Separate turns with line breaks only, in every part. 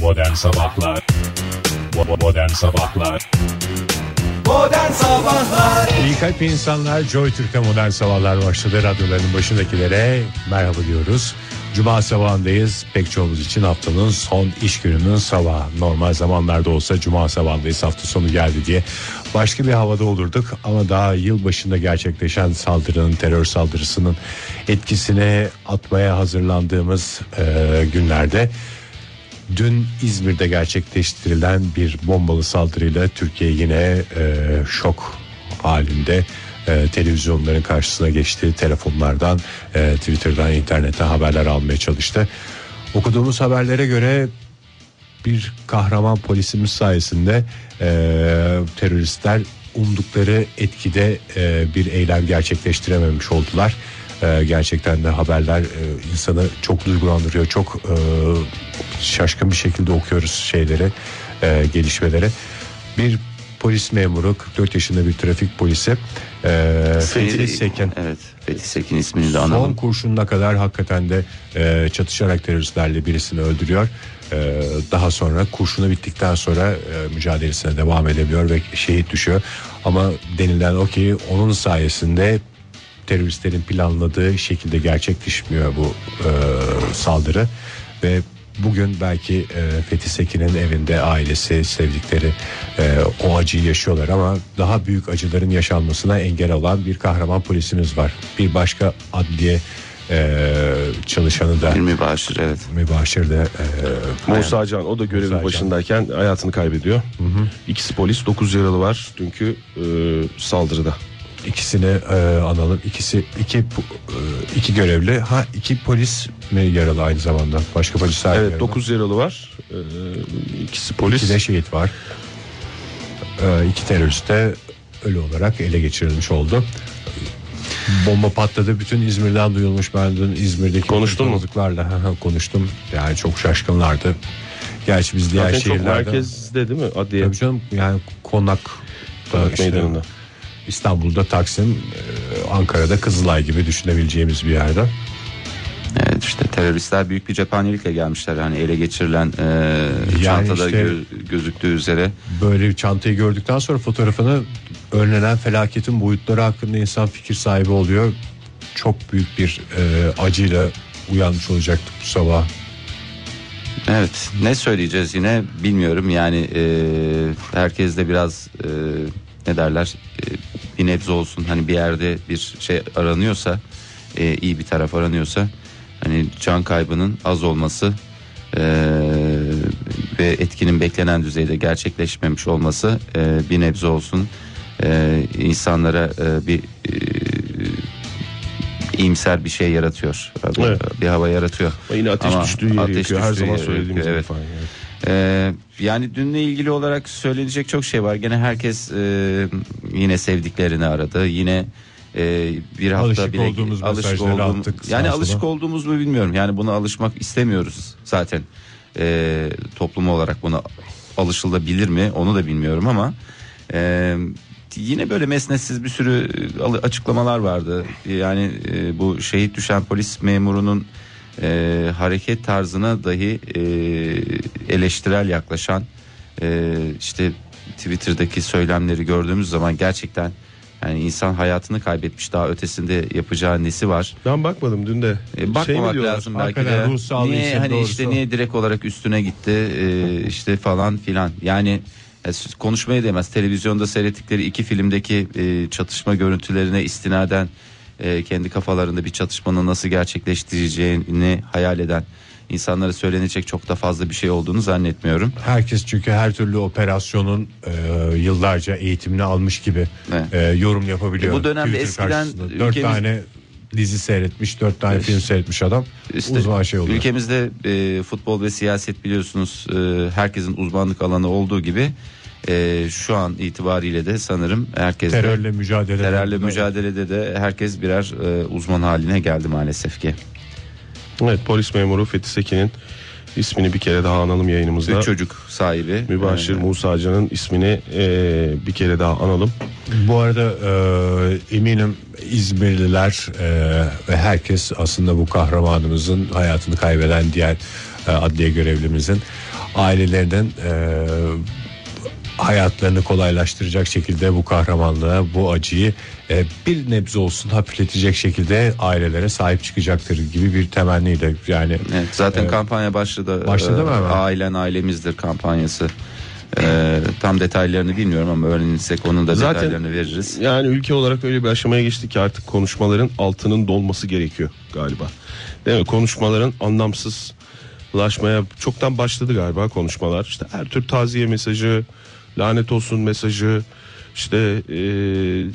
Modern Sabahlar Bo- Modern Sabahlar
Modern Sabahlar
İyi kalp insanlar Joy Türk'te modern sabahlar başladı. Radyoların başındakilere merhaba diyoruz. Cuma sabahındayız. Pek çoğumuz için haftanın son iş gününün sabahı. Normal zamanlarda olsa cuma sabahındayız hafta sonu geldi diye. Başka bir havada olurduk ama daha yıl başında gerçekleşen saldırının, terör saldırısının etkisini atmaya hazırlandığımız eee, günlerde Dün İzmir'de gerçekleştirilen bir bombalı saldırıyla Türkiye yine e, şok halinde E, televizyonların karşısına geçti. Telefonlardan, e, Twitter'dan, internette haberler almaya çalıştı. Okuduğumuz haberlere göre bir kahraman polisimiz sayesinde e, teröristler umdukları etkide e, bir eylem gerçekleştirememiş oldular. E, gerçekten de haberler e, insanı çok duygulandırıyor. Çok e, şaşkın bir şekilde okuyoruz şeyleri, e, gelişmeleri. Bir polis memuru 44 yaşında bir trafik polisi e, Fethi Seken
Evet. Fethi Sekin ismini de
Son
analım.
kurşununa kadar hakikaten de e, çatışarak teröristlerle birisini öldürüyor. E, daha sonra kurşunu bittikten sonra e, mücadelesine devam edemiyor ve şehit düşüyor. Ama denilen o ki onun sayesinde teröristlerin planladığı şekilde gerçekleşmiyor bu e, saldırı ve bugün belki e, Fethi Sekin'in evinde ailesi, sevdikleri e, o acıyı yaşıyorlar ama daha büyük acıların yaşanmasına engel olan bir kahraman polisimiz var. Bir başka adliye e, çalışanı da
Bir mübaşir evet.
mübaşir de e,
Musa Can o da görevin
Musa Can.
başındayken hayatını kaybediyor. İkisi polis, dokuz yaralı var dünkü e, saldırıda.
ikisini e, analım. İkisi iki pu- e, iki görevli. Ha iki polis mi yaralı aynı zamanda? Başka polisler mi
Evet,
yaralı?
dokuz yaralı var. E, ikisi polis.
İki de şehit var. Ee, iki terörist de ölü olarak ele geçirilmiş oldu. Bomba patladı. Bütün İzmir'den duyulmuş. Ben dün İzmir'deki
Konuştun mu?
tanıdıklarla, hı hı, konuştum. Yani çok şaşkınlardı. Gerçi biz diğer
Zaten çok
şehirlerde...
merkezde değil mi? Adliye.
Tabii canım yani konak
Konak meydanında.
İstanbul'da Taksim, e, Ankara'da Kızılay gibi düşünebileceğimiz bir yerde.
Evet işte teröristler büyük bir cephanelikle gelmişler. Hani ele geçirilen e,
Yani
çantada
işte-
gö- gözüktüğü üzere.
böyle bir çantayı gördükten sonra fotoğrafını önlenen felaketin boyutları hakkında insan fikir sahibi oluyor. Çok büyük bir e, acıyla uyanmış olacaktık bu sabah.
Evet ne söyleyeceğiz yine bilmiyorum. Yani e, herkes de biraz e, ne derler e, bir nebze olsun. Hani bir yerde bir şey aranıyorsa e, iyi bir taraf aranıyorsa hani can kaybının az olması e, ve etkinin beklenen düzeyde gerçekleşmemiş olması e, bir nebze olsun e, insanlara e, bir e, iyimser bir şey yaratıyor. Bir,
Evet.
bir hava yaratıyor.
Ama Yine ateş
Ama
düştüğü yeri
ateş
yakıyor. Her
düştüğü
zaman
yeri yakıyor,
söylediğimiz gibi
evet.
falan. Evet.
Ee, yani dünle ilgili olarak söylenecek çok şey var. Gene herkes e, yine sevdiklerini aradı. Yine e, bir hafta
Alışık
bile
olduğumuz
alışık
mesajları
olduğum-
attık sağa
Yani
sola.
alışık olduğumuz mu bilmiyorum. Yani buna alışmak istemiyoruz zaten. Ee, toplum olarak buna alışılabilir mi onu da bilmiyorum ama e, yine böyle mesnetsiz bir sürü e, alı- açıklamalar vardı. Yani e, bu şehit düşen polis memurunun e, hareket tarzına dahi e, eleştirel yaklaşan e, işte Twitter'daki söylemleri gördüğümüz zaman gerçekten yani insan hayatını kaybetmiş daha ötesinde yapacağı nesi var?
Ben bakmadım dün de.
E, bakmamak
Şey mi diyorlar?
lazım belki de.
Hakikaten ruh sağlığı
niye
için
hani
doğrusu
işte
o.
niye direkt olarak üstüne gitti e, işte falan filan. Yani e, s- konuşmaya değmez. Televizyonda seyrettikleri iki filmdeki e, çatışma görüntülerine istinaden e, kendi kafalarında bir çatışmanın nasıl gerçekleştireceğini hayal eden insanlara söylenecek çok da fazla bir şey olduğunu zannetmiyorum.
Herkes çünkü her türlü operasyonun e, yıllarca eğitimini almış gibi
Evet.
e, yorum yapabiliyor.
E, bu dönemde
Twitter
eskiden
karşısında. Dört
ülkemiz-
tane dizi seyretmiş, dört tane film seyretmiş adam
İşte
uzman şey oluyor.
Ülkemizde e, futbol ve siyaset biliyorsunuz e, herkesin uzmanlık alanı olduğu gibi e, şu an itibariyle de sanırım herkes de-
Terörle mücadele.
terörle mücadelede de herkes birer e, uzman haline geldi maalesef ki.
Evet polis memuru Fethi Sekin'in ismini bir kere daha analım
Üç
yayınımızda.
çocuk sahibi.
Mübaşir
E,
Musa Can'ın ismini e, bir kere daha analım.
Bu arada e, eminim İzmirliler e, ve herkes aslında bu kahramanımızın hayatını kaybeden diğer e, adliye görevlimizin ailelerinin e, hayatlarını kolaylaştıracak şekilde bu kahramanlığa bu acıyı e, bir nebze olsun hafifletecek şekilde ailelere sahip çıkacaktır gibi bir temenniyle yani
Evet, zaten
e,
kampanya başladı.
başladı mı
Ee,
hemen?
Ailen ailemizdir kampanyası. Ee, tam detaylarını bilmiyorum ama öğrenirsek onun da
Zaten-
detaylarını veririz.
Yani ülke olarak öyle bir aşamaya geçtik ki artık konuşmaların altının dolması gerekiyor galiba. Değil mi? Konuşmaların anlamsızlaşmaya çoktan başladı galiba konuşmalar. İşte her tür taziye mesajı, lanet olsun mesajı, işte eee,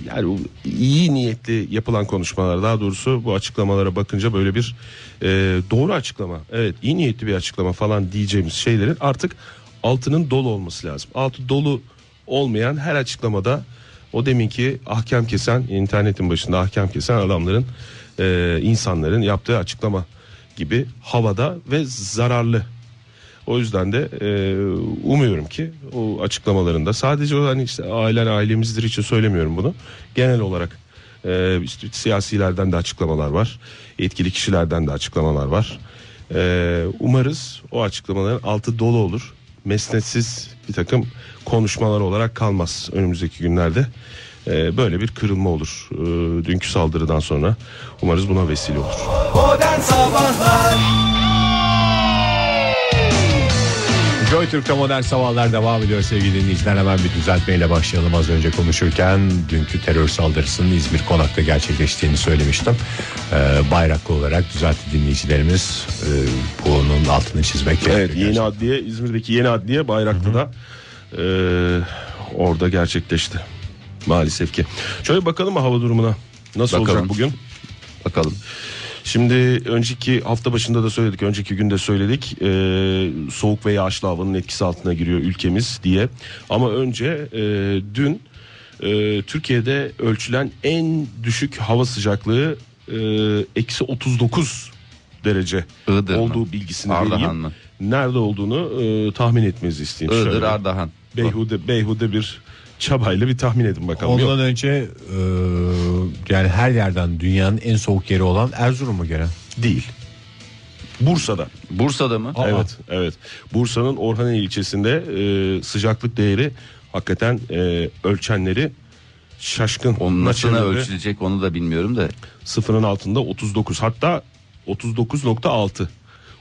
yani bu iyi niyetli yapılan konuşmalar daha doğrusu bu açıklamalara bakınca böyle bir eee, doğru açıklama, evet iyi niyetli bir açıklama falan diyeceğimiz şeylerin artık altının dolu olması lazım. Altı dolu olmayan her açıklamada o deminki ahkam kesen internetin başında ahkam kesen adamların e, insanların yaptığı açıklama gibi havada ve zararlı. O yüzden de e, umuyorum ki o açıklamalarında sadece o hani işte ailen ailemizdir için söylemiyorum bunu. Genel olarak e, işte siyasilerden de açıklamalar var. Yetkili kişilerden de açıklamalar var. E, umarız o açıklamaların altı dolu olur. Mesnetsiz bir takım konuşmalar olarak kalmaz önümüzdeki günlerde. E, böyle bir kırılma olur. E, dünkü saldırıdan sonra umarız buna vesile olur.
Modern Sabahlar
Joy Türk'te modern sabahlar devam ediyor sevgili dinleyiciler. Hemen bir düzeltmeyle başlayalım. Az önce konuşurken dünkü terör saldırısının İzmir Konak'ta gerçekleştiğini söylemiştim. Ee, bayraklı olarak düzeltti dinleyicilerimiz. Ee, bunun altını çizmek
Evet
gerekiyor.
yeni adliye İzmir'deki yeni adliye Bayraklı'da e, orada gerçekleşti. Maalesef ki. Şöyle bakalım mı hava durumuna? Nasıl
Bakalım.
olacak bugün?
Bakalım.
Şimdi önceki hafta başında da söyledik, önceki günde söyledik. e, soğuk ve yağışlı havanın etkisi altına giriyor ülkemiz diye. Ama önce e, dün e, Türkiye'de ölçülen en düşük hava sıcaklığı e, eksi 39 derece
Iğdır mı?
olduğu bilgisini
Ardahan
vereyim.
mı?
Nerede olduğunu e, tahmin etmenizi isteyeyim.
Iğdır
şöyle.
Ardahan.
Beyhude, beyhude bir çabayla bir tahmin edin bakalım. Yok.
Ondan önce e, yani her yerden dünyanın en soğuk yeri olan Erzurum mu gelen?
değil. Bursa'da.
Bursa'da mı?
Aa.
Evet, evet. Bursa'nın Orhaniye ilçesinde e, sıcaklık değeri hakikaten e, ölçenleri şaşkın.
Onun nasıl
Naçenleri
ölçülecek onu da bilmiyorum da.
Sıfırın altında 39 hatta 39.6.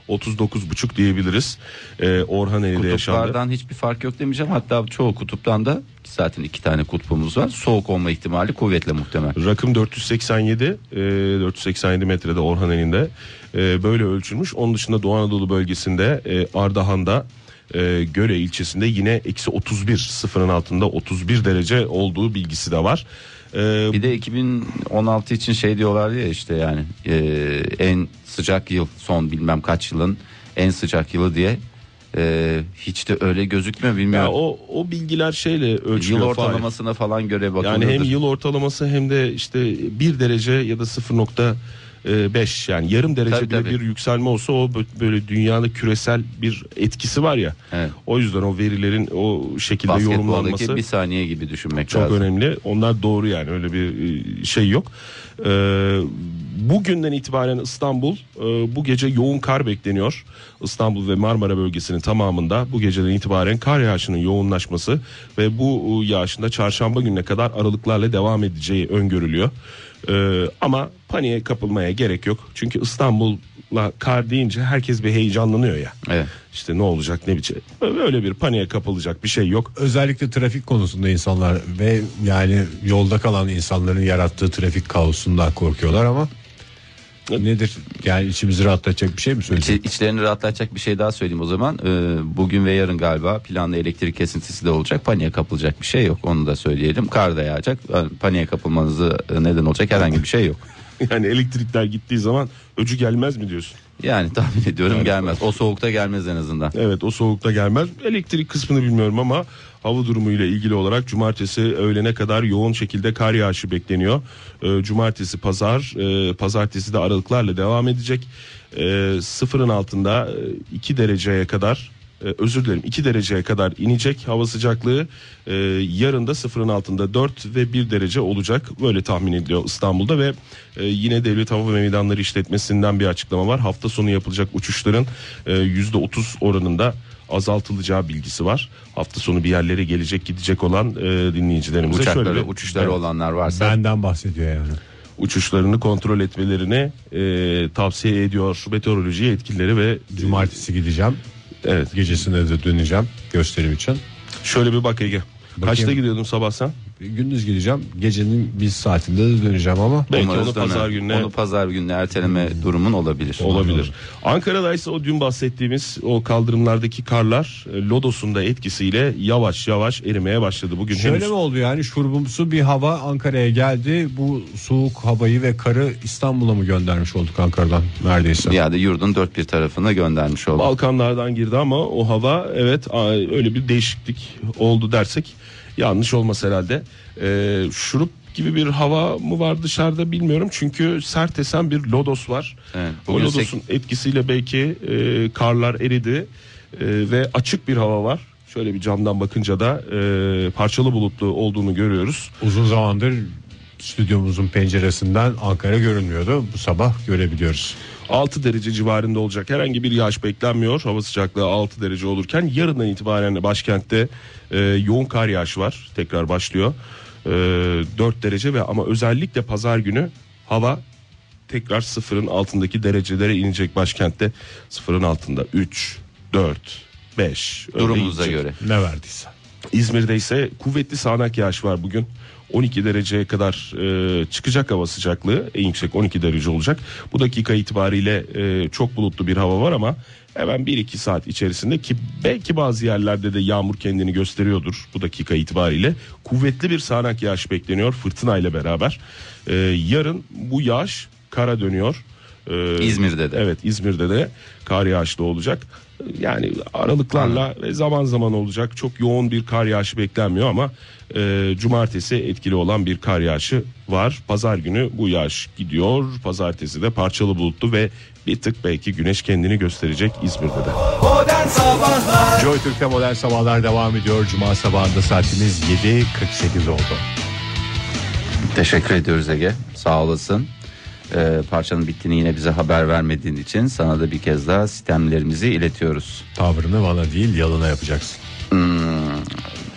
39.5 diyebiliriz. E, Orhaniye'de yaşandı.
Kutuplardan hiçbir fark yok demeyeceğim. Hatta çoğu kutuptan da zaten iki tane kutbumuz var. Soğuk olma ihtimali kuvvetle muhtemel.
Rakım 487 e, 487 metrede Orhaneli'nde e, böyle ölçülmüş. Onun dışında Doğu Anadolu bölgesinde e, Ardahan'da e, Göre ilçesinde yine eksi 31 sıfırın altında 31 derece olduğu bilgisi de var. E,
Bir de 2016 için şey diyorlar ya işte yani e, en sıcak yıl son bilmem kaç yılın en sıcak yılı diye E, hiç de öyle gözükmüyor
ya
bilmiyorum.
o o bilgiler şeyle ölçülüyor.
yıl
Fahir.
ortalamasına falan göre bakılıyordur.
Yani hem yıl ortalaması hem de işte 1 derece ya da 0.5 yani yarım derece
Tabii,
bile
tabii.
bir yükselme olsa o bö- böyle dünyada küresel bir etkisi var ya.
Evet.
O yüzden o verilerin o şekilde yorumlanması
basketboldaki bir saniye gibi düşünmek
çok
lazım.
önemli. Onlar doğru yani öyle bir e, şey yok. Ee, bugünden itibaren İstanbul e, bu gece yoğun kar bekleniyor. İstanbul ve Marmara bölgesinin tamamında bu geceden itibaren kar yağışının yoğunlaşması ve bu e, yağışın da çarşamba gününe kadar aralıklarla devam edeceği öngörülüyor. Ee, ama paniğe kapılmaya gerek yok. Çünkü İstanbul'la kar deyince herkes bir heyecanlanıyor ya.
Evet.
İşte ne olacak ne biçim. Öyle bir paniğe kapılacak bir şey yok.
Özellikle trafik konusunda insanlar ve yani yolda kalan insanların yarattığı trafik kaosundan korkuyorlar ama nedir? Yani içimizi rahatlatacak bir şey mi söyleyecek?
İç- İçlerini rahatlatacak bir şey daha söyleyeyim o zaman. Ee, bugün ve yarın galiba planlı elektrik kesintisi de olacak. Paniğe kapılacak bir şey yok. Onu da söyleyelim. Kar da yağacak. e, Paniğe kapılmanızı neden olacak herhangi bir şey yok.
Yani elektrikler gittiği zaman öcü gelmez mi diyorsun?
Yani tahmin ediyorum gelmez. O soğukta gelmez en azından.
Evet o soğukta gelmez. Elektrik kısmını bilmiyorum ama hava durumu ile ilgili olarak cumartesi öğlene kadar yoğun şekilde kar yağışı bekleniyor. Ee, cumartesi pazar e, pazartesi de aralıklarla devam edecek. Ee, sıfırın altında 2 e, dereceye kadar e, özür dilerim 2 dereceye kadar inecek hava sıcaklığı e, yarın da sıfırın altında 4 ve 1 derece olacak böyle tahmin ediliyor İstanbul'da ve e, yine Devlet Hava ve Meydanları İşletmesi'nden bir açıklama var hafta sonu yapılacak uçuşların e, %30 oranında azaltılacağı bilgisi var hafta sonu bir yerlere gelecek gidecek olan e, dinleyicilerimize
Uçakları,
şöyle bir-
uçuşları
Evet
olanlar varsa
Benden bahsediyor yani.
uçuşlarını kontrol etmelerini e, tavsiye ediyor meteoroloji yetkilileri ve
Cumartesi gideceğim.
Evet.
Gecesinde de döneceğim gösterim için.
Şöyle bir bak Ege. Kaçta
Bakayım.
gidiyordun sabah sen?
Gündüz gideceğim. Gecenin bir saatinde de döneceğim ama
Belki
umarız
onu pazar
döner.
gününe Hmm.
onu pazar gününe erteleme durumun olabilir.
olabilir. Ankara'da ise o dün bahsettiğimiz o kaldırımlardaki karlar e, Lodos'un da etkisiyle yavaş yavaş erimeye başladı. Bugün
Şöyle
henüz
mi oldu yani şurbumsu bir hava Ankara'ya geldi. Bu soğuk havayı ve karı İstanbul'a mı göndermiş olduk Ankara'dan neredeyse?
Bir yerde yurdun dört bir tarafına göndermiş oldu.
Balkanlardan girdi ama o hava evet a- öyle bir değişiklik oldu dersek yanlış olmaz herhalde. Ee, şurup gibi bir hava mı var dışarıda bilmiyorum çünkü sert esen bir lodos var.
Evet,
o
bugün
lodosun etkisiyle belki e, karlar eridi e, ve açık bir hava var. Şöyle bir camdan bakınca da e, parçalı bulutlu olduğunu görüyoruz.
Uzun zamandır stüdyomuzun penceresinden Ankara görünmüyordu. Bu sabah görebiliyoruz.
6 derece civarında olacak. Herhangi bir yağış beklenmiyor. Hava sıcaklığı 6 derece olurken yarından itibaren de başkentte e, yoğun kar yağışı var. Tekrar başlıyor. E, 4 derece ve ama özellikle pazar günü hava tekrar sıfırın altındaki derecelere inecek başkentte. Sıfırın altında 3, 4, 5
Durumunuza göre.
Ne verdiyse.
İzmir'de ise kuvvetli sağanak yağış var bugün. 12 dereceye kadar e, çıkacak hava sıcaklığı en yüksek 12 derece olacak. Bu dakika itibariyle e, çok bulutlu bir hava var ama hemen 1-2 saat içerisinde ki belki bazı yerlerde de yağmur kendini gösteriyordur bu dakika itibariyle. Kuvvetli bir sağanak yağış bekleniyor fırtına ile beraber. E, yarın bu yağış kara dönüyor. E,
İzmir'de de.
Evet İzmir'de de kar yağışlı olacak. Yani aralıklarla ve zaman zaman olacak. Çok yoğun bir kar yağışı beklenmiyor ama e, cumartesi etkili olan bir kar yağışı var. Pazar günü bu yağış gidiyor. Pazartesi de parçalı bulutlu ve bir tık belki güneş kendini gösterecek İzmir'de de.
Modern Sabahlar
Joy Türk'te modern sabahlar devam ediyor. Cuma sabahında saatimiz 7.48 oldu.
Teşekkür ediyoruz Ege. Sağ olasın. Ee, parçanın bittiğini yine bize haber vermediğin için sana da bir kez daha sistemlerimizi iletiyoruz.
Tavrını bana değil yalına yapacaksın.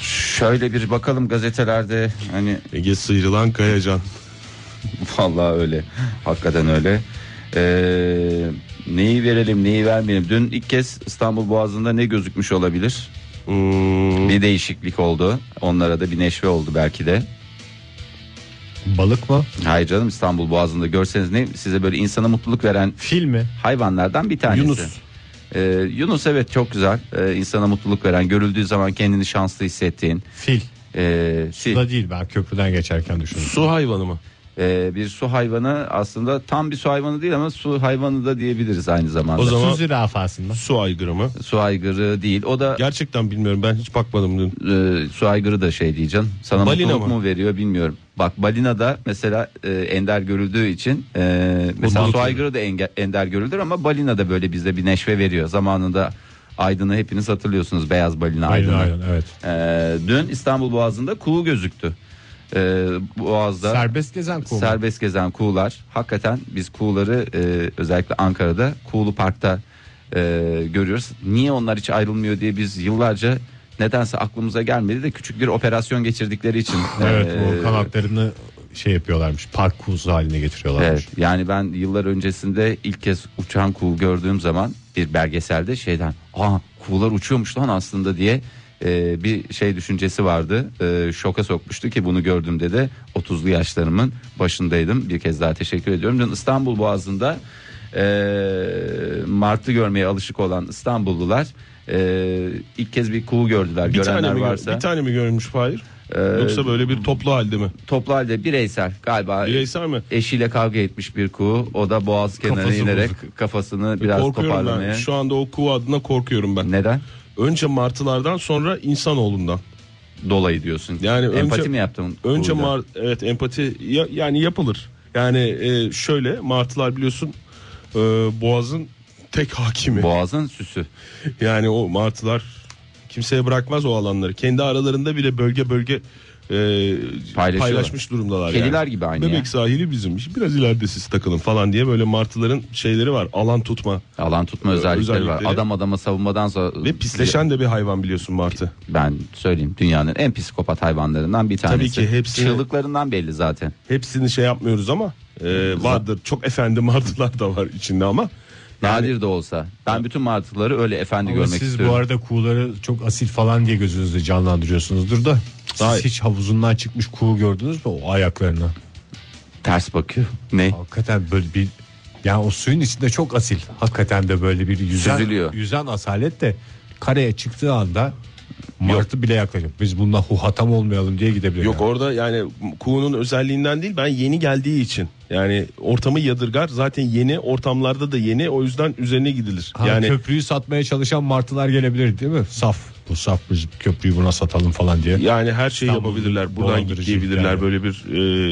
Şöyle bir bakalım gazetelerde hani
Ege sıyrılan Kayacan.
Vallahi öyle. Hakikaten öyle. Ee, neyi verelim neyi vermeyelim. Dün ilk kez İstanbul Boğazı'nda ne gözükmüş olabilir?
Hmm.
Bir değişiklik oldu. Onlara da bir neşve oldu belki de.
Balık mı?
Hayır canım İstanbul Boğazı'nda görseniz ne size böyle insana mutluluk veren
Fil mi?
hayvanlardan bir tanesi.
Yunus.
Ee, Yunus evet çok güzel. Ee, insana mutluluk veren, görüldüğü zaman kendini şanslı hissettiğin.
Fil.
Ee, fil.
Da değil ben köprüden geçerken düşündüm.
Su hayvanı mı?
Ee, bir su hayvanı aslında tam bir su hayvanı değil ama su hayvanı da diyebiliriz aynı zamanda.
O zaman-
Su zürafasında.
Su aygırı mı?
Su aygırı değil. O da
Gerçekten bilmiyorum ben hiç bakmadım dün.
e, su aygırı da şey diyeceğim. Sana
Balina
mutluluk
mı?
mu veriyor bilmiyorum. Bak balina da mesela e, ender görüldüğü için e, mesela
Mutluluk
su
veriyor.
aygırı da enge- ender görülür ama balina da böyle bizde bir neşve veriyor. Zamanında Aydın'ı hepiniz hatırlıyorsunuz beyaz balina
Aynen
Aydın'ı.
aynen evet.
E, dün İstanbul Boğazı'nda kuğu gözüktü. E, boğaz'da
Serbest gezen kovma.
serbest gezen kuğular. Hakikaten biz kuğuları e, özellikle Ankara'da Kuğulu Park'ta e, görüyoruz. Niye onlar hiç ayrılmıyor diye biz yıllarca nedense aklımıza gelmedi de küçük bir operasyon geçirdikleri için.
evet
e,
o kanatlarını şey yapıyorlarmış. Park kuzu haline getiriyorlarmış.
Evet, yani ben yıllar öncesinde ilk kez uçan kuğu gördüğüm zaman bir belgeselde şeyden aa kuğular uçuyormuş lan aslında diye e, bir şey düşüncesi vardı. E, şoka sokmuştu ki bunu gördüğümde de 30'lu yaşlarımın başındaydım. Bir kez daha teşekkür ediyorum. Dün İstanbul Boğazı'nda e, Martı görmeye alışık olan İstanbullular e, ilk kez bir kuğu gördüler.
Bir
Görenler
tane, mi, gör-
varsa
bir tane mi görmüş Fahir? Yoksa böyle bir toplu halde mi?
toplu halde bireysel galiba.
Bireysel mi?
Eşiyle kavga etmiş bir kuğu. O da boğaz kenarına
Kafası E,
inerek kafasını biraz
korkuyorum
toparlamaya.
ben. Şu anda o kuğu adına korkuyorum ben.
Neden?
Önce martılardan sonra insanoğlundan.
Dolayı diyorsun.
Yani önce-
Empati mi yaptın?
Önce
kuğuyla?
mar evet empati ya- yani yapılır. Yani e, şöyle martılar biliyorsun e, boğazın tek hakimi.
Boğazın süsü.
Yani o martılar kimseye bırakmaz o alanları. Kendi aralarında bile bölge bölge e, paylaşmış durumdalar.
Kediler
yani.
gibi aynı
Bebek
ya.
sahili bizim. Biraz ileride siz takılın falan diye böyle martıların şeyleri var. Alan tutma.
Alan tutma özellikleri, var.
özellikleri.
Adam adama savunmadan sonra...
Ve pisleşen de bir hayvan biliyorsun martı.
Ben söyleyeyim dünyanın en psikopat hayvanlarından bir tanesi.
ki hepsini-
Çığlıklarından belli zaten.
Hepsini şey yapmıyoruz ama e, vardır. Çok efendi martılar da var içinde ama.
Nadir de olsa. Ben bütün martıları öyle efendi
Ama
görmek
siz
istiyorum.
bu arada kuğuları çok asil falan diye gözünüzde canlandırıyorsunuzdur da siz
Hayır.
hiç havuzundan çıkmış kuğu gördünüz mü o ayaklarına?
Ters bakıyor. Ne?
Hakikaten böyle bir yani o suyun içinde çok asil. Hakikaten de böyle bir yüzen
Süzülüyor.
yüzen asalet de kareye çıktığı anda martı bile yaklaşıyor. Biz bununla huhatam olmayalım diye gidebilir.
Yok
yani.
orada yani kuğunun özelliğinden değil ben yeni geldiği için. Yani ortamı yadırgar zaten yeni ortamlarda da yeni o yüzden üzerine gidilir.
Ha,
yani
köprüyü satmaya çalışan martılar gelebilir değil mi? Saf. Bu saf biz köprüyü buna satalım falan diye.
yani her şeyi
İstanbul
yapabilirler. Buradan
dolandırıcı
gidebilirler
yani.
böyle bir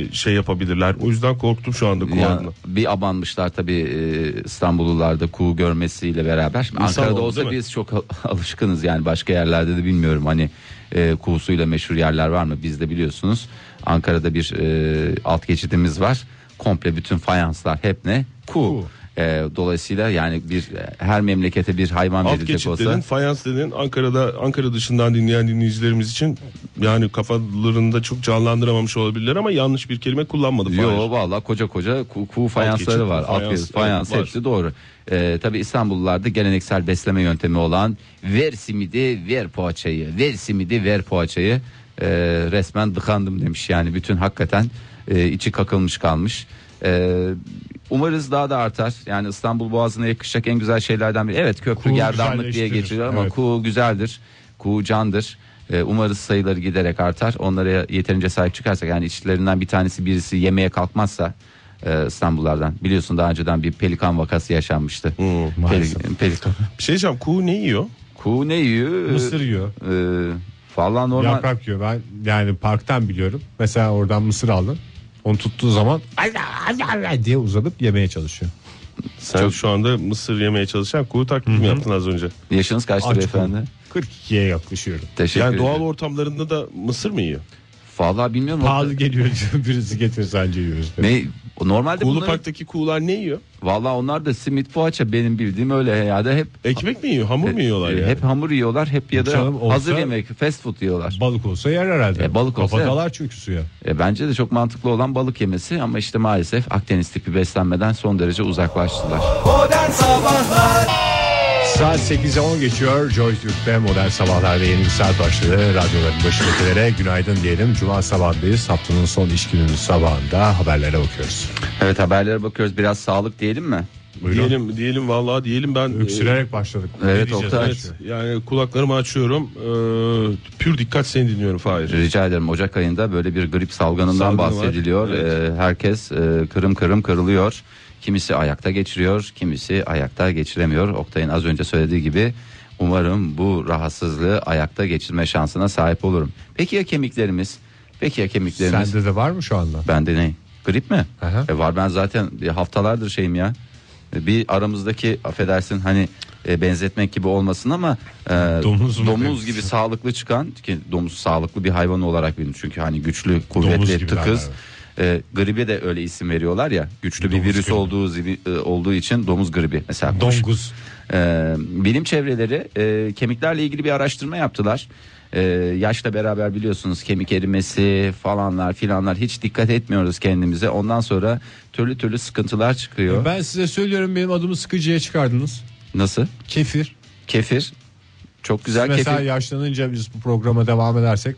e, şey yapabilirler. O yüzden korktum şu anda
Ya,
kuğundan.
bir abanmışlar tabii e, İstanbullularda kuğu görmesiyle beraber. Şimdi
İnsan
Ankara'da
oldu,
olsa
değil mi?
biz çok al- alışkınız yani başka yerlerde de bilmiyorum hani e, kuğusuyla meşhur yerler var mı? Bizde biliyorsunuz Ankara'da bir e, alt geçidimiz var. Komple bütün fayanslar hep ne? Kuğu. E, dolayısıyla yani bir e, her memlekete bir hayvan
Alt
verilecek
geçit
olsa.
dedin, fayans dedin. Ankara'da Ankara dışından dinleyen dinleyicilerimiz için yani kafalarında çok canlandıramamış olabilirler ama yanlış bir kelime kullanmadı.
Yo
Fahir.
valla koca koca ku, kuğu fayansları
geçit,
var. Alt
fayans,
geçit, fayans
evet, var.
hepsi doğru. Ee, Tabi İstanbullularda geleneksel besleme yöntemi olan ver simidi ver poğaçayı. Ver simidi ver poğaçayı. Ee, resmen dıkandım demiş yani. Bütün hakikaten e, içi kakılmış kalmış. Ee, umarız daha da artar. Yani İstanbul Boğazı'na yakışacak en güzel şeylerden biri. Evet köprü
Kuğu
gerdanlık diye
güzelleştirir,
geçiyor ama
evet.
kuğu güzeldir. Kuğu candır. Ee, umarız sayıları giderek artar. Onlara yeterince sahip çıkarsak yani içlerinden bir tanesi birisi yemeye kalkmazsa e, İstanbullardan biliyorsun daha önceden bir pelikan vakası yaşanmıştı.
Hmm,
Peli-
maalesef.
pelikan.
Bir şey diyeceğim kuğu ne yiyor?
Kuğu ne yiyor?
Mısır yiyor.
Ee, falan e, normal.
Yaprak yiyor. Ben yani parktan biliyorum. Mesela oradan mısır aldım. Onu tuttuğu zaman diye uzanıp yemeye çalışıyor.
Sen şu anda mısır yemeye çalışan kuğu taklidi mi yaptın az önce?
Yaşınız kaçtır
Aç
efendi?
kaldım. 42'ye yaklaşıyorum.
Teşekkür
Yani doğal
ederim.
ortamlarında da mısır mı yiyor?
Vallahi bilmiyorum.
Pahalı geliyor birisi getirirse anca yiyoruz.
Ne normalde
Kuğulu
bunları-
Park'taki kuğular ne yiyor?
Vallahi onlar da simit poğaça benim bildiğim öyle ya da hep
Ekmek mi yiyor? Hamur mu yiyorlar
e,
yani?
Hep hamur yiyorlar, hep ya da
Canım olsa-
hazır yemek, fast food yiyorlar.
Balık olsa yer herhalde.
E, balık olsa
Kafa
yer.
dalar çünkü suya.
E, bence de çok mantıklı olan balık yemesi ama işte maalesef Akdeniz tipi beslenmeden son derece uzaklaştılar.
Modern Sabahlar
Saat 8'e 10 geçiyor. Joy Türk'te modern sabahlarda yeni bir saat başladı. Radyoların başındakilere günaydın diyelim. Cuma sabahındayız. Haftanın son iş gününün sabahında haberlere bakıyoruz.
Evet haberlere bakıyoruz biraz sağlık diyelim mi?
Buyurun.
Diyelim diyelim vallahi diyelim ben e,
Öksürerek başladık. Ne
Evet,
diyeceğiz?
Oktay.
evet, yani kulaklarımı açıyorum. Ee, pür dikkat seni dinliyorum Fahir.
Rica ederim Ocak ayında böyle bir grip salgınından
Salgını var,
bahsediliyor.
evet.
E, herkes e, kırım kırım kırılıyor. Kimisi ayakta geçiriyor, kimisi ayakta geçiremiyor. Oktay'ın az önce söylediği gibi umarım bu rahatsızlığı ayakta geçirme şansına sahip olurum. Peki ya kemiklerimiz? Peki ya kemiklerimiz?
Sende de var mı şu anda?
Bende ne? Grip mi?
Aha.
E var ben zaten e, haftalardır şeyim ya. E, Bir aramızdaki affedersin hani e, benzetmek gibi olmasın ama e,
Domuz mu demiş?
gibi sağlıklı çıkan ki domuz sağlıklı bir hayvan olarak bilir çünkü hani güçlü, kuvvetli,
gibi
tıkız. E, gribe de öyle isim veriyorlar ya. Güçlü bir
Domuz
virüs
gribi.
olduğu zibi- e, olduğu için domuz gribi mesela. kuş-
Donguz.
ee, bilim çevreleri e, kemiklerle ilgili bir araştırma yaptılar. Ee, yaşla beraber biliyorsunuz kemik erimesi falanlar filanlar hiç dikkat etmiyoruz kendimize. Ondan sonra türlü türlü sıkıntılar çıkıyor.
Ben size söylüyorum benim adımı sıkıcıya çıkardınız.
Nasıl?
Kefir.
Kefir. Çok güzel
Mesela
kefir.
yaşlanınca biz bu programa devam edersek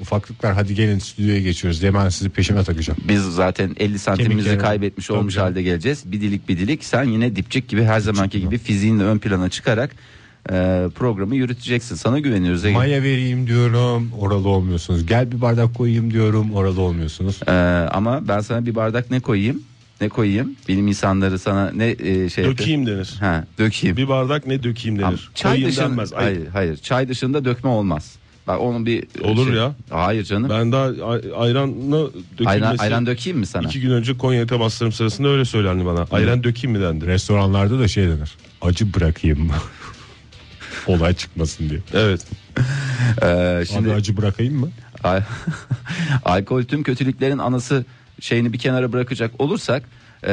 ufaklıklar hadi gelin stüdyoya geçiyoruz diye ben sizi peşime takacağım.
Biz zaten 50 santimimizi
Kemikleri-
kaybetmiş
Tabii
olmuş
canım.
halde geleceğiz. Bir dilik bir dilik sen yine dipçik gibi her zamanki gibi fiziğinle ön plana çıkarak e, programı yürüteceksin. Sana güveniyoruz. Ege.
Maya vereyim diyorum oralı olmuyorsunuz. Gel bir bardak koyayım diyorum oralı olmuyorsunuz.
Ee, ama ben sana bir bardak ne koyayım? Ne koyayım? Bilim insanları sana ne e, şey yapıyor?
Dökeyim denir.
Ha, dökeyim.
Bir bardak ne dökeyim
Ama
denir.
çay
Koyayım
dışında
denmez. Ay,
hayır, hayır. Çay dışında dökme olmaz. Bak onun bir e, şey-
Olur ya.
Hayır canım.
Ben daha ay- ayranla dökülmesi...
ayran, ayran dökeyim mi sana?
İki gün önce Konya temaslarım sırasında öyle söylendi bana. Ayran dökeyim mi dendi.
Restoranlarda da şey denir. Acı bırakayım mı? Olay çıkmasın diye.
Evet.
Ee,
Abi
şimdi
acı bırakayım mı?
Al- alkol tüm kötülüklerin anası şeyini bir kenara bırakacak olursak e,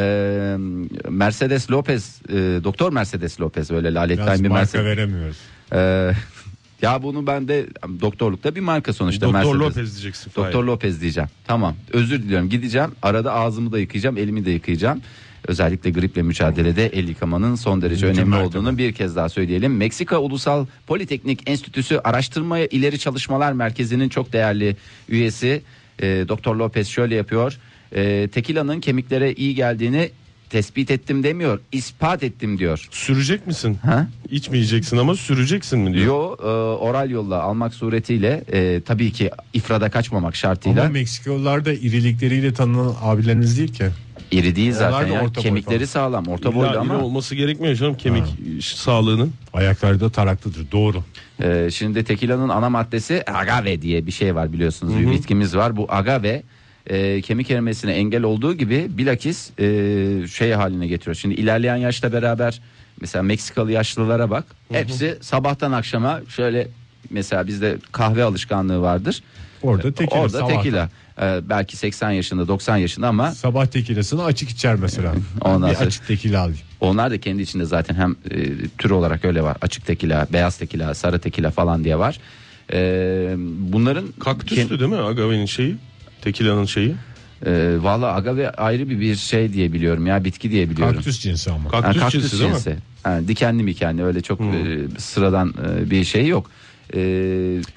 Mercedes Lopez e, Doktor Mercedes Lopez öyle
Biraz
laletten bir
marka
Mercedes.
veremiyoruz.
E, ya bunu ben de doktorlukta bir marka sonuçta
Doktor
Mercedes.
Lopez diyeceksin. Fahir.
Doktor Lopez diyeceğim. Tamam. Özür diliyorum. Gideceğim. Arada ağzımı da yıkayacağım, elimi de yıkayacağım. Özellikle griple mücadelede el yıkamanın son derece
Mümkün
önemli
mertebe.
olduğunu bir kez daha söyleyelim. Meksika Ulusal Politeknik Enstitüsü Araştırma İleri Çalışmalar Merkezi'nin çok değerli üyesi e, Doktor Lopez şöyle yapıyor. E, tekila'nın kemiklere iyi geldiğini tespit ettim demiyor. ispat ettim diyor.
Sürecek misin?
Ha?
İçmeyeceksin ama süreceksin mi diyor.
Yo e, oral yolla almak suretiyle e, tabii ki ifrada kaçmamak şartıyla.
Ama Meksikalılar da irilikleriyle tanınan abilerimiz değil ki.
İri değil
Onlar
zaten
da
ya.
orta boy
Kemikleri
falan.
sağlam. Orta
İlla
boylu
iri
ama.
olması gerekmiyor canım kemik iş- sağlığının.
Ayakları da taraklıdır. Doğru.
e, şimdi tekilanın ana maddesi agave diye bir şey var biliyorsunuz. Bir bitkimiz var. Bu agave e, kemik erimesine engel olduğu gibi bilakis e, şey haline getiriyor. Şimdi ilerleyen yaşla beraber mesela Meksikalı yaşlılara bak. Hepsi sabahtan akşama şöyle mesela bizde kahve alışkanlığı vardır.
Orada tekila.
Orada
sabah.
tekila. E, belki 80 yaşında 90 yaşında ama
Sabah tekilasını açık içer mesela.
Ondan
bir
sonra-
açık tekila alayım.
Onlar da kendi içinde zaten hem e, tür olarak öyle var. Açık tekila, beyaz tekila, sarı tekila falan diye var. E, bunların
Kaktüsü değil mi agavenin şeyi? Tekila'nın şeyi.
e, valla agave ayrı bir, bir şey diye biliyorum ya bitki diye biliyorum.
Kaktüs cinsi ama.
Ha,
Kaktüs, cinsi değil mi? Hmm.
Ha, dikenli mikenli öyle çok e, sıradan e, bir şey yok. E,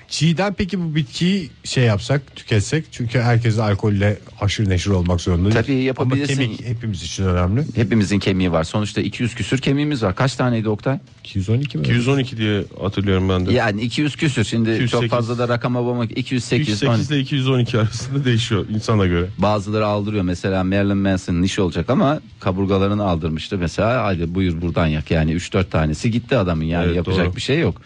Çiğden peki bu bitkiyi şey yapsak tüketsek çünkü herkes alkolle aşırı neşir olmak zorunda değil.
Tabii yapabilirsin.
Ama kemik hepimiz için önemli.
hepimizin kemiği var. Sonuçta 200 küsür kemiğimiz var. Kaç taneydi Oktay?
212 mi?
212 diye hatırlıyorum ben de.
Yani 200 küsür. Şimdi
208.
çok fazla da rakama bakmak 208.
308 ile 212 arasında değişiyor insana göre.
Bazıları aldırıyor mesela Marilyn Manson'ın işi olacak ama kaburgalarını aldırmıştı mesela hadi buyur buradan yak yani 3-4 tanesi gitti adamın yani
Evet,
yapacak
doğru.
bir şey yok.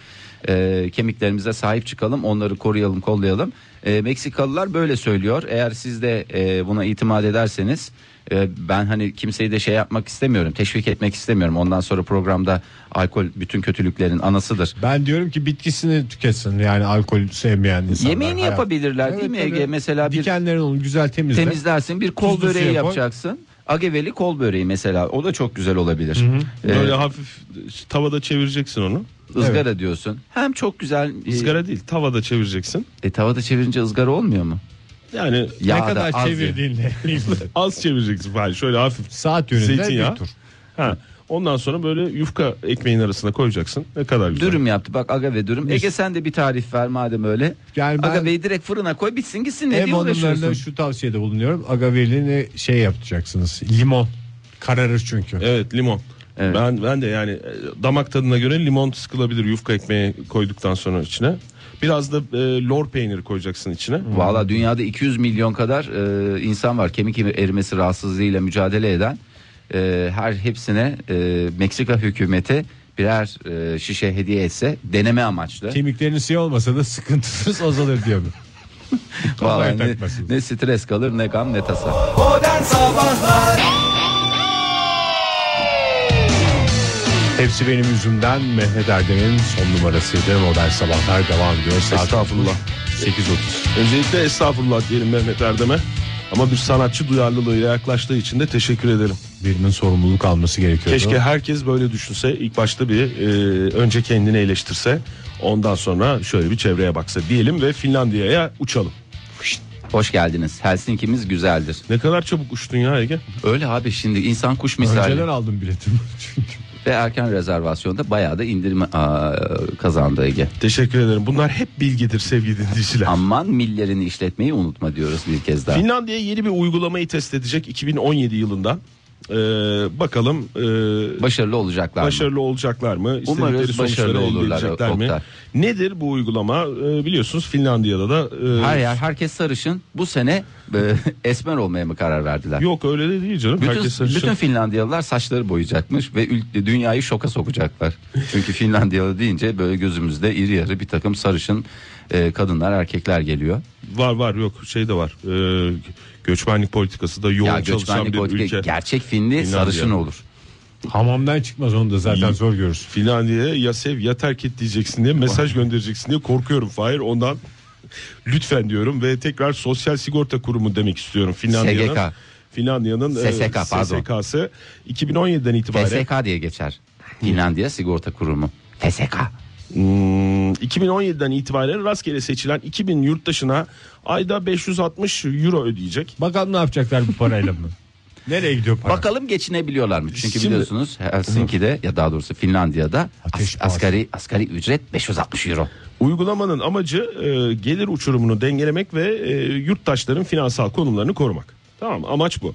Ee, kemiklerimize sahip çıkalım onları koruyalım kollayalım. Ee, Meksikalılar böyle söylüyor eğer siz de e, buna itimat ederseniz e, ben hani kimseyi de şey yapmak istemiyorum teşvik etmek istemiyorum ondan sonra programda alkol bütün kötülüklerin anasıdır.
Ben diyorum ki bitkisini tüketsin yani alkol sevmeyen insanlar.
Yemeğini
Hayat-
yapabilirler değil mi
Evet,
Ege
tabii.
mesela bir
Dikenlerini onu güzel temizle.
temizlersin bir kol
Tuzlu suya
böreği
koy.
yapacaksın. Ageveli kol böreği mesela o da çok güzel olabilir. Ee,
Böyle hafif tavada çevireceksin onu.
ızgara diyorsun. Hem çok güzel e,
Izgara değil tavada çevireceksin.
E, tavada çevirince ızgara olmuyor mu?
Yani
Yağda
ne kadar
az
çevirdiğinle ilgili.
az çevireceksin bari şöyle hafif.
Saat yönünde
Zeytinyağı.
bir tur.
Ha. Ondan sonra böyle yufka ekmeğin arasına koyacaksın. Ne kadar güzel.
Dürüm yaptı bak agave dürüm. Ege sen de bir tarif ver madem öyle.
Yani ben-
Agaveyi direkt fırına koy bitsin gitsin ne
Ev
diye uğraşıyorsun.
hanımlarına şu tavsiyede bulunuyorum. Agavelini şey yapacaksınız. Limon. Kararır çünkü.
Evet limon.
Evet.
Ben ben de yani e, damak tadına göre limon sıkılabilir yufka ekmeği koyduktan sonra içine. Biraz da e, lor peyniri koyacaksın içine.
Valla dünyada 200 milyon kadar e, insan var kemik erimesi rahatsızlığıyla mücadele eden. E, her hepsine e, Meksika hükümeti birer e, şişe hediye etse deneme amaçlı.
Kemikleriniz siyah olmasa da sıkıntısız azalır diyor mu?
Vallahi
Kolay
ne,
takmasın.
ne stres kalır ne gam ne tasa.
Modern Sabahlar
Hepsi benim yüzümden Mehmet Erdem'in son numarasıydı. Modern Sabahlar devam ediyor. Saat
Estağfurullah.
8.30.
Öncelikle estağfurullah diyelim Mehmet Erdem'e. Ama bir sanatçı duyarlılığıyla yaklaştığı için de teşekkür ederim.
Birinin sorumluluk alması gerekiyordu.
Keşke herkes böyle düşünse. İlk başta bir e, önce kendini eleştirse. Ondan sonra şöyle bir çevreye baksa diyelim ve Finlandiya'ya uçalım.
Hoş geldiniz. Helsinki'miz güzeldir.
Ne kadar çabuk uçtun ya Ege.
Öyle abi şimdi insan kuş misali
Önceden aldım biletimi. Çünkü
ve erken rezervasyonda bayağı da indirim aa, kazandı Ege.
Teşekkür ederim. Bunlar hep bilgidir sevgili dinleyiciler.
Aman millerini işletmeyi unutma diyoruz bir kez daha.
Finlandiya yeni bir uygulamayı test edecek 2017 yılında. Ee, bakalım e,
Başarılı olacaklar mı?
başarılı olacaklar mı? İstedikleri
Umarız
sonuçları
başarılı
elde
olurlar,
edecekler mi?
Oktay.
Nedir bu uygulama? Ee, biliyorsunuz Finlandiya'da da e,
Her yer herkes sarışın. Bu sene e, esmer olmaya mı karar verdiler?
yok öyle de değil canım.
Bütün,
Herkes sarışın.
bütün Finlandiyalılar saçları boyayacakmış ve ül- dünyayı şoka sokacaklar. Çünkü Finlandiyalı deyince böyle gözümüzde iri yarı bir takım sarışın e, kadınlar erkekler geliyor.
Var var yok şey de var. Ee, göçmenlik politikası da yoğun
Ya
çalışan
göçmenlik
bir
politika-
ülke.
gerçek Finli
Finlandiya.
sarışın olur.
Hamamdan çıkmaz onu da zaten
İyi.
zor görürsün.
Finlandiya'ya ya sev ya terk et diyeceksin diye mesaj göndereceksin diye korkuyorum Fahir ondan lütfen diyorum ve tekrar Sosyal Sigorta Kurumu demek istiyorum Finlandiya'nın.
SGK.
Finlandiya'nın e,
SSK, pardon.
SSK'sı 2017'den itibaren
FSK diye geçer. Finlandiya Sigorta Kurumu. FSK.
Hmm, 2017'den itibaren rastgele seçilen 2000 yurttaşına ayda 560 euro ödeyecek.
Bakalım ne yapacaklar bu parayla mı? Nereye gidiyor para?
Bakalım geçinebiliyorlar mı? Çünkü
Şimdi-
biliyorsunuz Helsinki'de ya daha doğrusu Finlandiya'da
Ateş
as-
pahası.
asgari asgari ücret 560 euro.
Uygulamanın amacı e, gelir uçurumunu dengelemek ve e, yurttaşların finansal konumlarını korumak. Tamam amaç bu.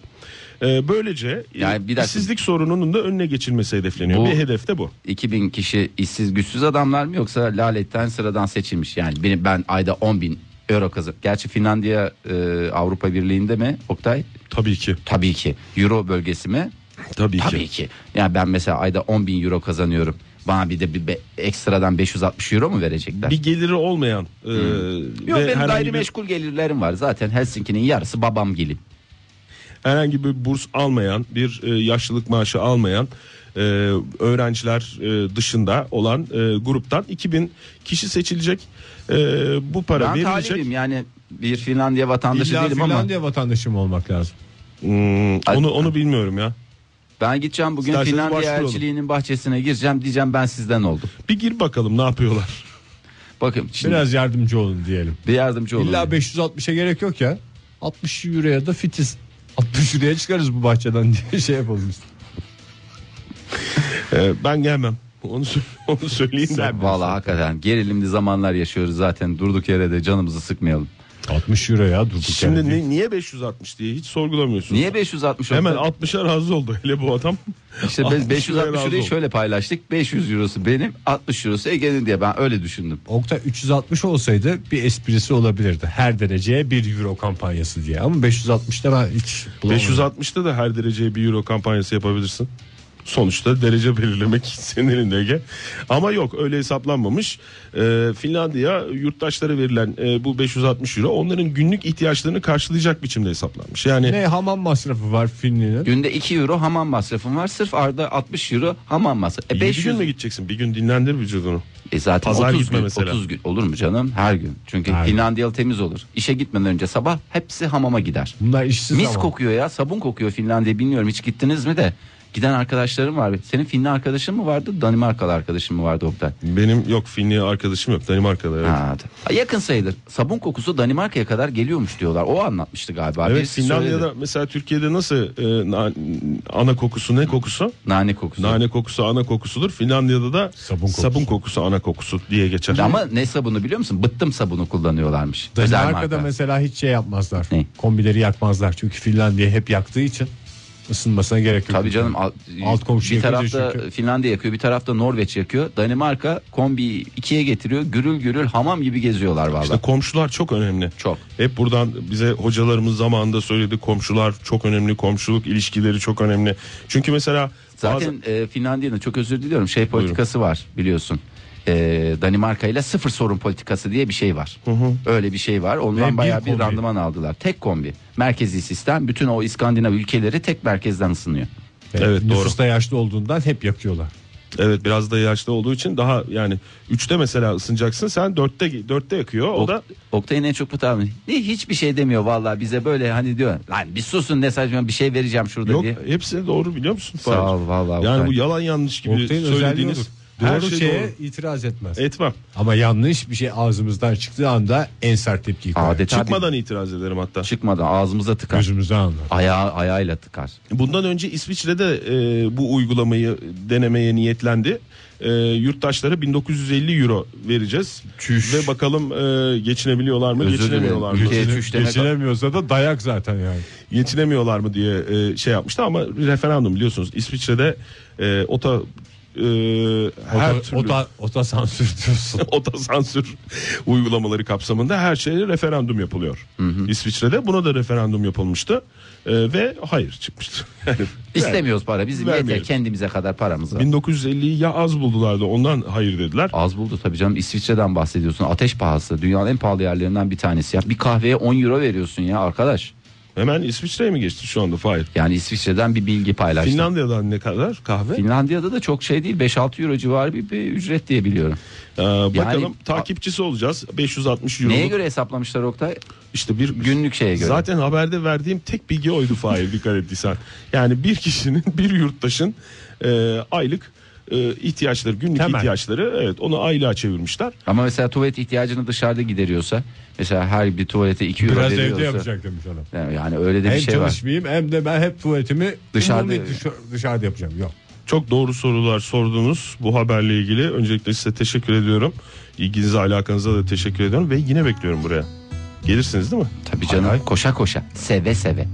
E, böylece
Yani
yani
bir dakika.
işsizlik sorununun da önüne geçilmesi hedefleniyor.
Bu-
bir hedef de bu.
2000 kişi işsiz güçsüz adamlar mı yoksa laletten sıradan seçilmiş yani benim ben ayda 10 bin euro kazan. Gerçi Finlandiya e, Avrupa Birliği'nde mi Oktay?
Tabii ki.
Tabii ki. Euro bölgesi mi?
Tabii,
Tabii ki. Yani ben mesela ayda 10 bin euro kazanıyorum. Bana bir de bir be- ekstradan 560 euro mu verecekler?
Bir geliri olmayan e,
Yok
ve
benim
herhangi bir,
gayrimeşgul gelirlerim var. Zaten Helsinki'nin yarısı babam gelin.
herhangi bir burs almayan, bir e, yaşlılık maaşı almayan e, öğrenciler e, dışında olan e, gruptan 2000 kişi seçilecek. E, bu para
Ben
verilecek.
talibim yani bir Finlandiya vatandaşı
İlla
değilim ama
Finlandiya vatandaşı mı olmak lazım?
Hmm, onu onu bilmiyorum ya.
ben gideceğim bugün
İsterseniz
Finlandiya
başvuralım.
elçiliğinin bahçesine gireceğim diyeceğim ben sizden oldum.
Bir gir bakalım ne yapıyorlar.
Bakın şimdi
Biraz yardımcı olun diyelim.
bir yardımcı olun.
İlla 560'a gerek yok ya. 60 euroya da fitiz. 60 euroya çıkarız bu bahçeden diye şey yapalım işte.
Ee, ben gelmem. Onu, sö- onu söyleyeyim de.
Vallahi hakikaten gerilimli zamanlar yaşıyoruz zaten durduk yere de canımızı sıkmayalım.
60 euroya durduk
Şimdi
yere değil.
ni- niye 560 diye hiç sorgulamıyorsunuz.
Niye 560 oldu?
Hemen 60'a razı oldu hele bu adam.
İşte biz
60
560
liraya razı
euroyu
oldu.
şöyle paylaştık. 500 eurosu benim, 60 eurosu Ege'nin diye ben öyle düşündüm.
Oktay 360 olsaydı bir esprisi olabilirdi. Her dereceye 1 euro kampanyası diye. Ama 560'da ben hiç bulamadım.
560'ta da her dereceye 1 euro kampanyası yapabilirsin. Sonuçta derece belirlemek senin elinde Ege. Ama yok öyle hesaplanmamış. Ee, Finlandiya yurttaşlara verilen e, bu 560 euro onların günlük ihtiyaçlarını karşılayacak biçimde hesaplanmış. Yani
Ne hamam masrafı var Finli'nin?
Günde 2 euro hamam masrafım var. Sırf arada 60 euro hamam masrafı. E
5
500
gün mü gideceksin? Bir gün dinlendir vücudunu.
E zaten
Pazar
30
gitme
gün,
mesela.
30 gün olur mu canım? Her gün. Çünkü
Her gün.
Finlandiyalı temiz olur. İşe gitmeden önce sabah hepsi hamama gider.
Bunlar işsiz
Mis
ama.
kokuyor ya, sabun kokuyor Finlandiya. Bilmiyorum hiç gittiniz mi de. Giden arkadaşlarım var. Senin Finli arkadaşın mı vardı? Danimarkalı arkadaşın mı vardı Oktay?
Benim yok Finli arkadaşım yok Danimarka'da. Evet.
Ha, yakın sayılır. Sabun kokusu Danimarka'ya kadar geliyormuş diyorlar. O anlatmıştı galiba.
Evet
Birisi
Finlandiya'da
söyledi.
mesela Türkiye'de nasıl e, na- ana kokusu ne kokusu?
nane kokusu.
Nane kokusu ana kokusudur. Finlandiya'da da sabun
Sabun
kokusu,
kokusu.
ana kokusu diye geçer.
Ama ne sabunu biliyor musun? Bıttım sabunu kullanıyorlarmış. Özel
Danimarka'da
marka.
mesela hiç şey yapmazlar.
Ne?
Kombileri yakmazlar. Çünkü Finlandiya hep yaktığı için ısınmasına gerek yok.
Tabii canım alt,
Alt komşu
bir
yakıyor
tarafta
çünkü.
Finlandiya yakıyor bir tarafta Norveç yakıyor. Danimarka kombi ikiye getiriyor gürül gürül hamam gibi geziyorlar valla.
İşte E, komşular çok önemli.
Çok.
Hep buradan bize hocalarımız zamanında söyledi komşular çok önemli, komşuluk ilişkileri çok önemli. Çünkü mesela
Zaten e, Finlandiya'nın çok özür diliyorum şey politikası var biliyorsun. E, Danimarka ile sıfır sorun politikası diye bir şey var. Öyle bir şey var. Ondan
Ve bir
bayağı bir,
kombi.
randıman aldılar. Tek kombi. Merkezi sistem bütün o İskandinav ülkeleri tek merkezden ısınıyor.
Evet,
Evet, nüfusta yaşlı olduğundan hep yakıyorlar.
Evet biraz da yaşlı olduğu için daha yani 3'te mesela ısınacaksın sen 4'te 4'te yakıyor. O
Ok-
da
Oktay'ın en çok bu tavrı. Ne hiçbir şey demiyor vallahi bize böyle hani diyor. Lan bir susun ne saçma bir şey vereceğim şurada
yok
diye.
hepsini doğru biliyor musun?
Sağ ol,
Fahir?
vallahi
Yani
Oktay.
bu yalan yanlış gibi
Oktay'ın özelliği
söylediğiniz
odur.
Her
Doğru
şey
şeye
doğru.
itiraz etmez.
Etmem.
Ama yanlış bir şey ağzımızdan çıktığı anda en sert tepkiyi koyar.
Adeta
Çıkmadan itiraz ederim hatta.
bir- çıkmadan ağzımıza tıkar.
Gözümüzden anlar.
Ayağı ayağıyla tıkar.
Bundan önce İsviçre'de e, bu uygulamayı denemeye niyetlendi. E, yurttaşlara 1950 euro vereceğiz. Ve bakalım e, geçinebiliyorlar mı,
Özür
geçinemiyorlar
dilerim.
mı?
Ülke-
Geçine-
üç demek-
geçinemiyorsa da dayak zaten yani.
Geçinemiyorlar mı diye e, şey yapmıştı ama referandum biliyorsunuz İsviçre'de e, ota e, her
Ota,
türlü
ota, ota sansür diyorsun.
otosansür uygulamaları kapsamında her şeye referandum yapılıyor. İsviçre'de buna da referandum yapılmıştı Ee, ve hayır çıkmıştı. Yani
İstemiyoruz para. Bizim yeter
Vermiyoruz.
kendimize kadar paramız var.
1950'yi ya az buldular da ondan hayır dediler.
Az buldu tabii canım. İsviçre'den bahsediyorsun. Ateş pahası. Dünyanın en pahalı yerlerinden bir tanesi. Ya bir kahveye 10 euro veriyorsun ya arkadaş.
Hemen İsviçre'ye mi geçti şu anda? Hayır.
Yani İsviçre'den bir bilgi paylaştım.
Finlandiya'dan ne kadar kahve?
Finlandiya'da da çok şey değil. 5-6 euro civarı bir, bir ücret diye biliyorum.
Ee, bakalım takipçisi olacağız. 560 euro.
Neye göre hesaplamışlar Oktay?
İşte bir
Günlük şeye göre.
Zaten haberde verdiğim tek bilgi oydu Fahir dikkat ettiysen. Yani bir kişinin bir yurttaşın e, aylık e, ihtiyaçları günlük
Temel.
ihtiyaçları evet onu aylığa çevirmişler.
Ama mesela tuvalet ihtiyacını dışarıda gideriyorsa mesela her bir tuvalete 2 euro
Biraz
veriyorsa.
evde yapacak demiş adam.
Yani öyle de bir
Hem
şey var.
çalışmayayım hem de ben hep tuvaletimi
Dışarıda-
dışarıda, dışarıda yapacağım. Yok.
Çok doğru sorular sordunuz bu haberle ilgili. Öncelikle size teşekkür ediyorum. İlginize alakanıza da teşekkür ediyorum ve yine bekliyorum buraya. Gelirsiniz değil mi?
Tabii canım. Koşa koşa. Seve seve.